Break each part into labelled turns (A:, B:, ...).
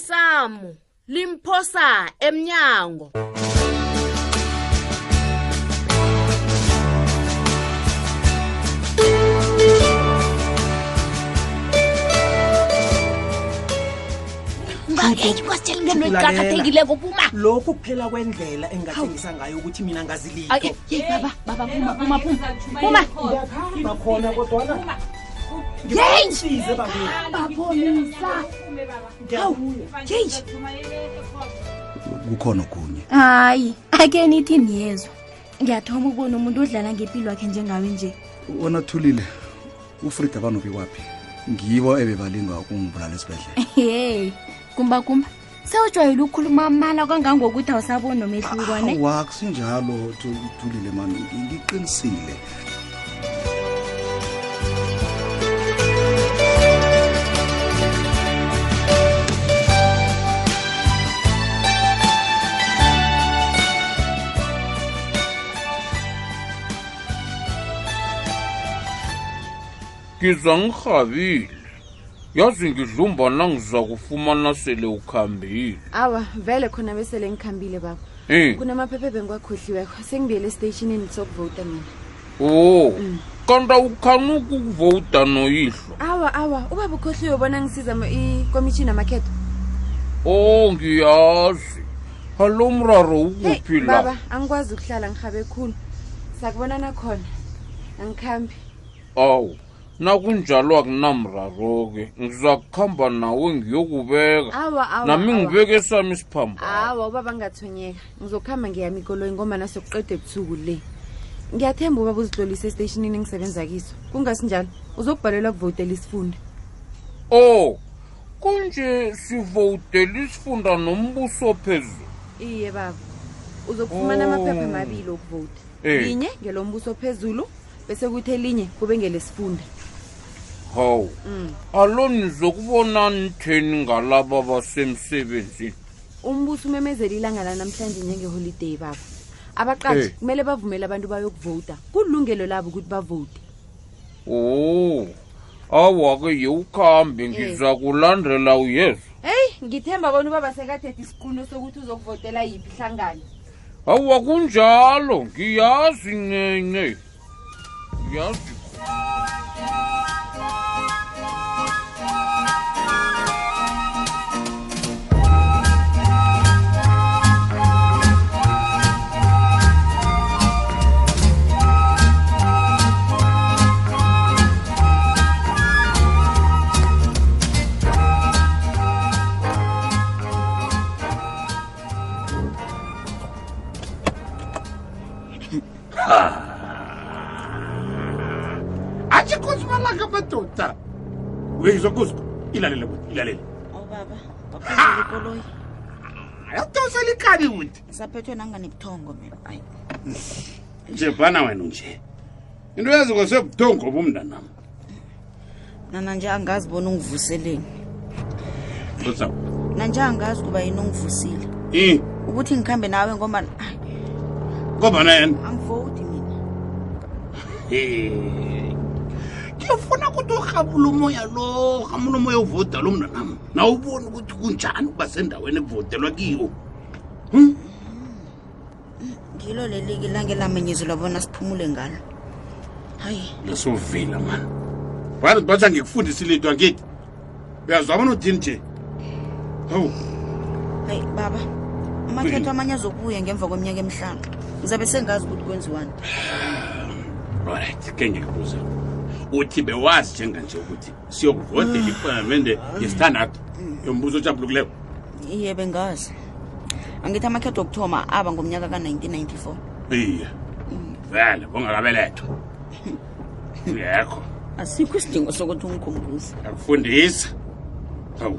A: semsamo limphosa emnyango
B: ungangeki kwasitshela into eqakathekileko puma
C: lokhu kuphela kwendlela engingathengisa ngayo ukuthi mina ngazilito
B: Ayi, yeyi, baba baba puma puma puma puma
C: ngiyakhamba khona kodwana
B: yeyi
C: size bakwethu
B: babonisa hawu yeyi
D: kukhona okunye
E: hayi ake nithi niyezwa ngiyathoma ukubona umuntu odlala ngempilo wakhe njengawe nje
D: wona thulile ufrida banobe kwaphi ngibo ebebalinga ukungibulala esibhedlela
E: ye kumba kumba sewujwayele ukukhuluma amala kangangokuthi awusaboni nomehluko ne
D: awa kusinjalo Thu- thulile mani ngi- ngiqinisile
F: ngiza ngirhabile yazi ngidlumba nangiza kufumana sele ukhambile
G: awa vele khona besele ngikhambile baba
F: Eh,
G: kunamaphepha bengiwakhohliweko sengibuyele esiteyishinini sokuvota mina
F: o kanti awukhanuki ukuvowuda noyihlo
G: awa awa ubaba ukhohliwe bona ngisiza mo- ikomitjhini amakhetho
F: o ngiyazi alo mraro ukuphi
G: baba
F: la
G: angikwazi ukuhlala ngihabe khulu sakubona nakhona angikhambi
F: awu nakunjalo akunamraro-ke ngiza kuhamba nawe ngiyokubeka
G: awa awa,
F: nami
G: awa.
F: ngibeke sami isiphambano
G: awa ubaba ngathonyeka ngizokuhamba ngiyami ikoloyi ngomana sokuqeda ebusuku le ngiyathemba ubaba uzitlolise esiteyishinini engisebenza kiso kungasinjalo uzokubhalelwa kuvotela isifundo
F: o kunje sivowudela isifunda nombuso phezulu
G: iye baba uzokufumana
F: Oh.
G: amaphepha amabili okuvota
F: Eh.
G: linye ngelombuso phezulu bese kuthi elinye kube ngelesifunda
F: hawu alo nizokubona nitheni ngalaba basemsebenzini
G: umbuso umemezela ilanga lanamhlanje njengeholideyi baba abaqashi
F: Eh.
G: kumele bavumele abantu bayokuvota kulungelo labo ukuthi bavote
F: o awa-ke Oh, yewukhambe ngiza kulandela uyezwa
G: heyi ngithemba bona ubaba sekathethe isiquno sokuthi uzokuvotela yiphi ihlangano
F: awa kunjalo ngiyazi nene ngiyazi
H: hathi khosi malaka madoda uyeyizwa kusko ilalele kuthi ilalele
I: awubaba waphezela ikoloyi
H: yadosela ikani kuthi
I: saphethwe nanganebuthongo mina ayi
H: njebana wena nje into yazi kwasebuthongo bomntanam
I: nana nje angazi bona ungivuseleni
H: dosa
I: nanje angazi kuba yini ungivusile
H: i
I: ukuthi ngikhambe nawe ngoba ayi,
H: ngobana yena
I: angivoti mina
H: ngifuna ukuthi urhabula umoya lo rhamula umoya uvoda lo mntanam nawubona ukuthi kunjani ukuba sendaweni Hm? ekuvotelwa kiyo
I: ngilo leliki langelamenyezelwa bona siphumule ngalo hayi
H: lesovila mani wathi batsha ngikufundisile into angithi uyazwa bona uthini nje hawu
I: hayi baba amakhetho amanye azobuya ngemva kweminyaka emihlanu ngizabe sengazi ukuthi kwenziwani
H: right ke ngikubuza uthi bewazi njenganje ukuthi siyokuvotela ipalamende yesithandathu yombuso ojabulukileyo
I: iye bengazi angithi amakhetho okuthoma aba ngomnyaka ka-1994
H: iye vele bongakabelethwa ngekho
I: asikho isidingo sokuthi ungikhumbuze
H: yakufundisa hawu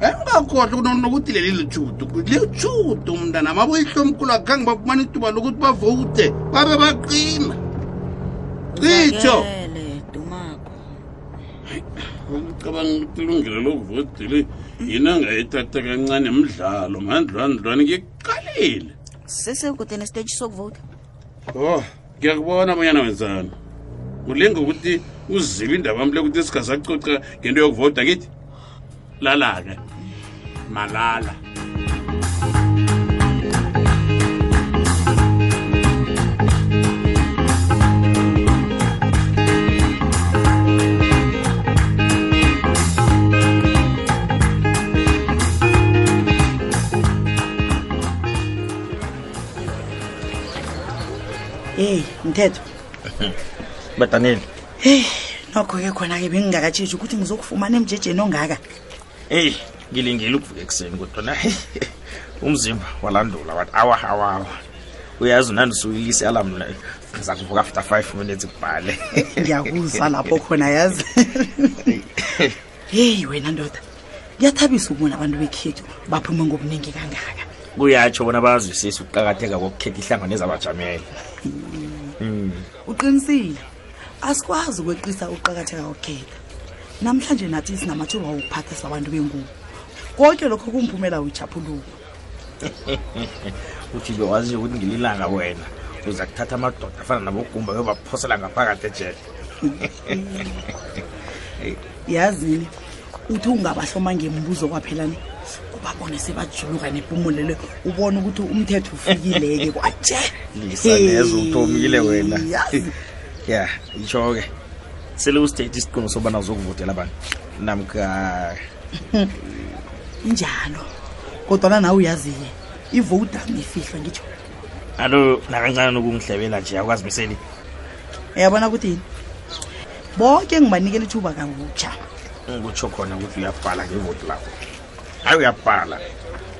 H: Eh, engakhohlwa kuno- nokuthi leli lijudu lijudu mntana maboyihlo omkhulu akhange bafumana ithuba lokuthi bavote babe baqina citsho
I: Uvakele, dumako
H: ngicabanga ukuthi ilungelo lokuvotile yini angayithatha kancane mdlalo mandlwandlwane ngiqalile
I: sesekude nesiteji sokuvota
H: o ngiyakubona abanyana wenzani ulinga ukuthi uzile indaba mle ukuthi sigasacoca ngento yokuvota kithi lala-ke
F: malala
J: yeyi mthetho
K: badaneli
J: heyi nokho ke khona-ke bengingakatshetshi ukuthi ngizokufumana emjejeni ongaka
K: eyi ngilingele ukuvuka ekuseni kodwana heyi, umzimba walandula wathi awa awa awa uyazi unandisuuyilise alam mna ngiza kuvuka after five minutes kubhale
J: ngiyakuzwa lapho khona yazi heyi wena ndoda kuyathabisa ukubona abantu bekhethu baphume ngobuningi kangaka
K: kuyatsho bona bayazwisisa ukuqakatheka kokukhetha ihlangano ezabajamela Mm.
J: uqinisile asikwazi ukweqisa ukuqakatheka kokukhetha namhlanje nathi sinamathuba wokuphatha sabantu bengubo konke lokho kumphumela wejhaphuluko
K: uthi bewaziyo ukuthi ngililanga wena uza kuthatha amadoda afana nabogumba bebaphosela ngaphakathi ejele
J: yazini uthi ungabahloma ngembuzo kwaphelani ubabone sebajuluka nepumulele ubone ukuthi umthetho ufikile-ke kwaje
K: lisaneza uthomile wena
J: Yazi.
K: ya itsho-ke sele usithethe isiqino sobana uzokuvotela abantu namka
J: injalo kodwana nawe uyaziye ivowudam ifihlwa ngitsho
K: alo nakancane nokungihlebela nje awukazimiseli
J: uyabona ukuthi yini bonke ngibanikela ithuba kakutsha
K: ngikutsho khona ukuthi uyabhala ngevoti lakho hayi uyabhala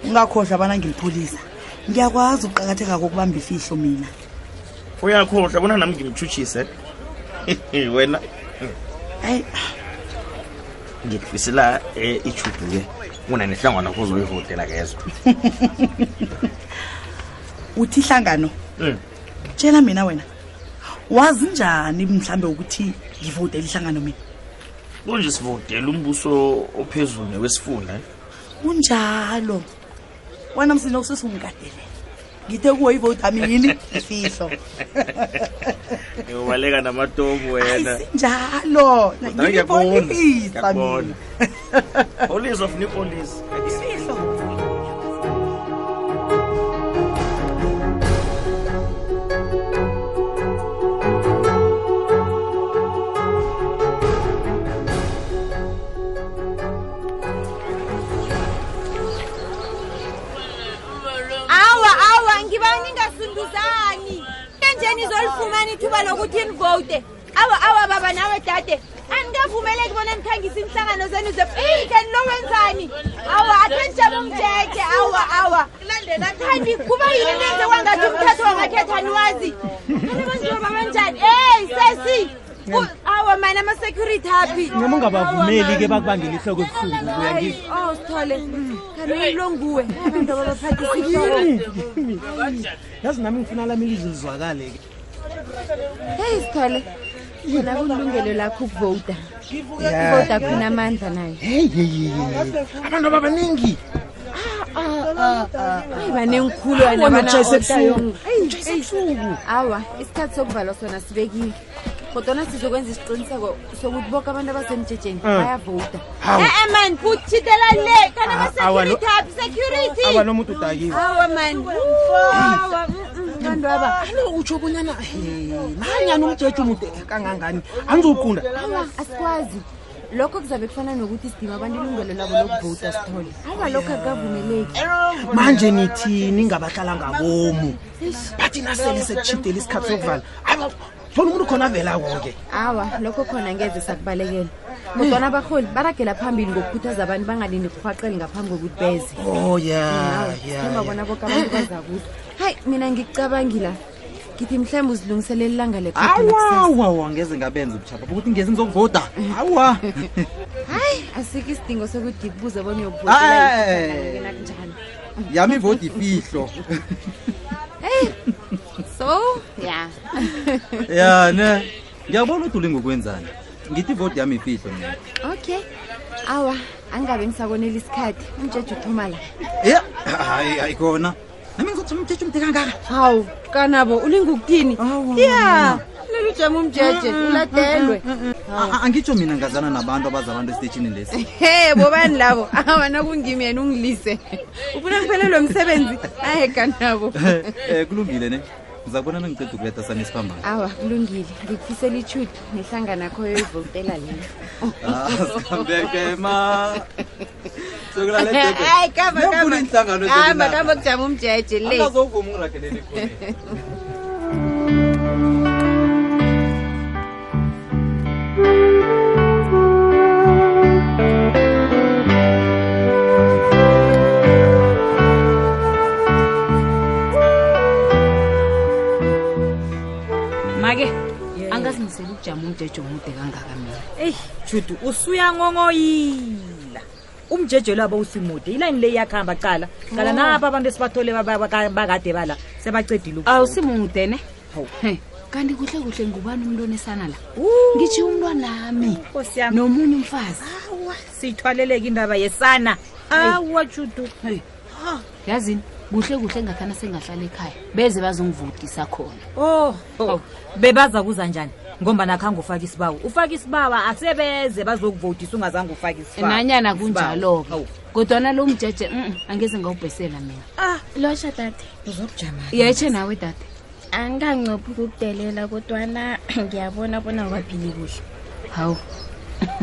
J: ungakhohlwa abana ngilipholisa ngiyakwazi ukuqakatheka kokubamba ifihlo mina
K: uyakhohlwa bona nami ngimtshutshise wena
J: hayi
K: ngikufisela um ijudu-ke unanehlangano kuzoyivotela kezo
J: uthi hlangano
K: Mm.
J: tshela mina wena wazi njani mhlambe ukuthi ngivotele ihlangano mina
K: kunje sivotela umbuso ophezulu newesifunda
J: kunjalo wena msini usesungigadele ngithe kuwo ivotami yini ifihlo
K: ubaleka namatomu wena
J: njalo
K: Kodwana ngiyakubona,
J: ngilipolisa mina
K: ngiyakubona. police of new police
L: awa awa ngiba ningasunduzani enje nizolifumana ithuba lokuthi nivote awa awa baba nawe dade anikavumeleki bona nikhangisa inhlangano zenu ze Eyi, kanti lo wenzani awa athenjaba umjeje awa awa kanti kuba yini nenze kwangathi umthetho wamakhetha niwazi anabanjiba banjani eyi sesi U- awa mani ama-security aphi
C: noma ungabavumeli-ke bakubangela ihloko ebuhlungu
L: Hayi,
C: uyangizwa
L: oh sithole kani lo nguwe abantu ababaphathisihloko
C: yazi nami ngifuna lami ilizwi lizwakale-ke
G: heyi sithole khona kulungelo lakho ukuvota
C: Ya.
G: ivota kunamandla nayo
C: abantu ababaningi
G: hayi banengikhulu wena
C: Bona
G: bana
C: utshayise
G: oda
C: ebusuku.
G: yong- Eyi, awa isikhathi sokuvalwa sona sibekiwe kodwana sizokwenza isiqiniseko sokuthi boke abantu abasemjejeni Eh,
C: Mm.
G: bayavota
C: Hawu. Ah,
L: e-e mani kuthithela le
C: Awa, lo-
L: kanama-security aphi security
C: awa nomuntu udakiwe
L: awa mani awa
G: mm,
L: abantu aba
C: utsho bonyana nanyani umjeje umude kangangani anizowuqunda
G: awa asikwazi lokho kuzabe kufana nokuthi sidima abantu ilungelo labo lokuvota sithole awa lokho akukavumeleki
C: manje nithi ningabahlala ngabomu bathi nasele sekutshidela isikhathi sokuvala aba thola umuntu khona avelako-ke
G: awa lokho khona ngeze sakubalekela kodwana abarholi baragela phambili ngokukhuthaza abantu bangalindi kurhwaqele ngaphambi kokuthi beze
C: Oh, ya,
G: Awa,
C: ya,
G: sithemba
C: ya.
G: bona boke abantu bazakuza hayi mina ngikucabangila ngithi mhlawumbe uzilungiseleli ilanga
C: awawawa ngeze ngabenza ubushaba ukuthi ngeze nizokuvota awa
G: hayi asikho isidingo sokuthi ngikubuze bona
C: Ay.
G: uyokuvotelakunjani
C: yami ivoti ifihlo
G: so ya
M: ya ne ngiyabona udule ngokwenzani ngithi ivodi yami ifihlo mina
G: okay awa angabe ngisakonela isikhathi umjeje uthoma la
M: ya hayi hayi khona nami ngizothi umthetho umde kangaka
G: hawu kanabo ulinga ukuthini ya lelujama umjeje uladelwe
M: A- a- angitsho mina ngazana nabantu abaza abantu esiteshini lesi
G: he bobani labo awana kungimi yena ungilise ufuna kuphelelwe msebenzi ayeka nabo
M: um kulungile ne ndiza kubonana ngiceda ukuletha sami isiphambano
G: awa kulungile ngikufisela ichudu nehlangana khoyo ivotela leyo
M: asikhambeke ma
G: hayi
M: Nokuna iinhlangano
G: kamba
M: zezinaba.
G: kamba kujama umjeje le
M: Angazovuma ungiragelele ekhoneni.
N: make angazimisela ukujama umjeje omude kangaka mina
B: eyi judu usuyangongoyila umjeje labo usimude ilayini le iyakuhamba cala cala
N: Oh.
B: nabo abantu esibathole ba- ba- ba- bakade bala sebacedile
N: awusimude ne He, kanti kuhle kuhle ngubani umntwana esana la ngitshe umntwanami nomunye umfazi
B: siyithwaleleke indaba yesana awa judu
N: yazini kuhle kuhle ngakhana sengahlala ekhaya beze bazongivukisa khona
B: oh, oh. bebaza kuza njani ngomba nakhanga ufake isibawo ufake isibawa asebeze bazokuvotisa ungazange ufake isibawo.
N: nanyana
B: Isibawo. Oh.
N: kunjalo-ke kodwana lo mjeje mm angeze ngawubhesela mina
E: losha dade
B: uzokujama
N: yetshe nawe dade
E: anganqophi ukukudelela kodwana ngiyabona bona waphili kuhle
N: hawu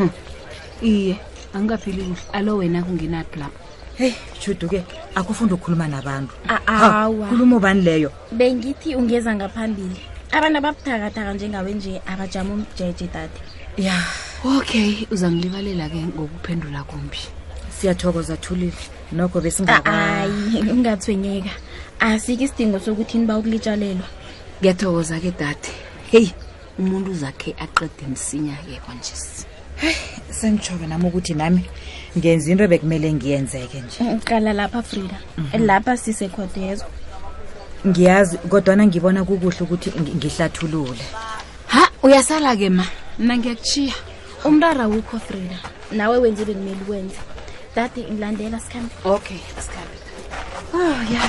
N: iye angikaphili kuhle alo wena kungenaphi lapha
B: heyi judu ke akufunda ukukhuluma nabantu Ha,
E: awa
B: khuluma ubani leyo
E: bengithi ungeza ngaphambili abantu ababuthakathaka njengawe nje abajama umjeje dade
N: ya okay uzangilibalela-ke ngokuphendula kumbi
B: siyathokoza thulile nokho
E: hayi ungathwenyeka asike isidingo sokuthi niba ukulitshalelwa
N: ngiyathokoza ke dade heyi umuntu uzakhe aqede msinya-ke konjesi
B: sengitsho-ke nami ukuthi nami ngenza into bekumele ngiyenzeke nje
E: qala lapha frida
B: Mhm.
E: lapha sisekhodezo
B: ngiyazi kodwana ngibona kukuhle ukuthi ngi- ngihlathulule
N: ha uyasala-ke ma mna ngiyakuchiya
E: umntara wukho frida nawe wenze bekumele wenze dade ngilandela sikhambe
N: okay asikhambe
E: oh ya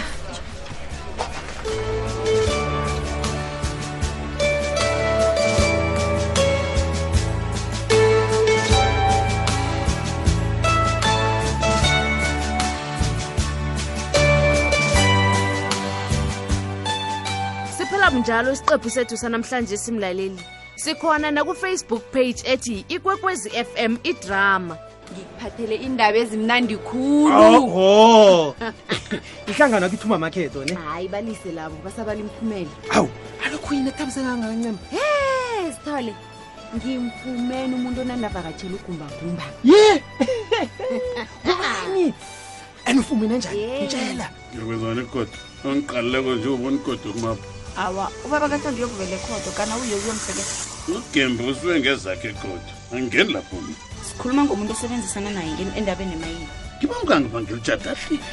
A: siphela bunjalo isiqephu sethu sanamhlanje simlaleli sikhona nakufacebook page ethi ikwekwezi fm idrama
G: ngikuphathele indaba ezimnandi khulu
C: oho ihlangano akithi umamakheto ne
G: hayi balise labo basabala imiphumela
C: awu alokhu yini ethabise kangancema
G: he sithole ngimfumene umuntu onandavakatshela ugumbagumba
C: ye kubani and ufumene njani
G: Yes.
C: mtshela
H: ngiyakwezani ikoda angiqaluleko nje ubona ikoda kumapha
I: awa ubaba kathandi uyokuvela ekhodo kana uye uyomsebenza
H: ugembe usuke ngezakhe ikoda angingeni lapho mina
I: sikhuluma ngomuntu osebenzisana naye nge- endabeni emayini
H: ngiba ungangibangela utshadahlile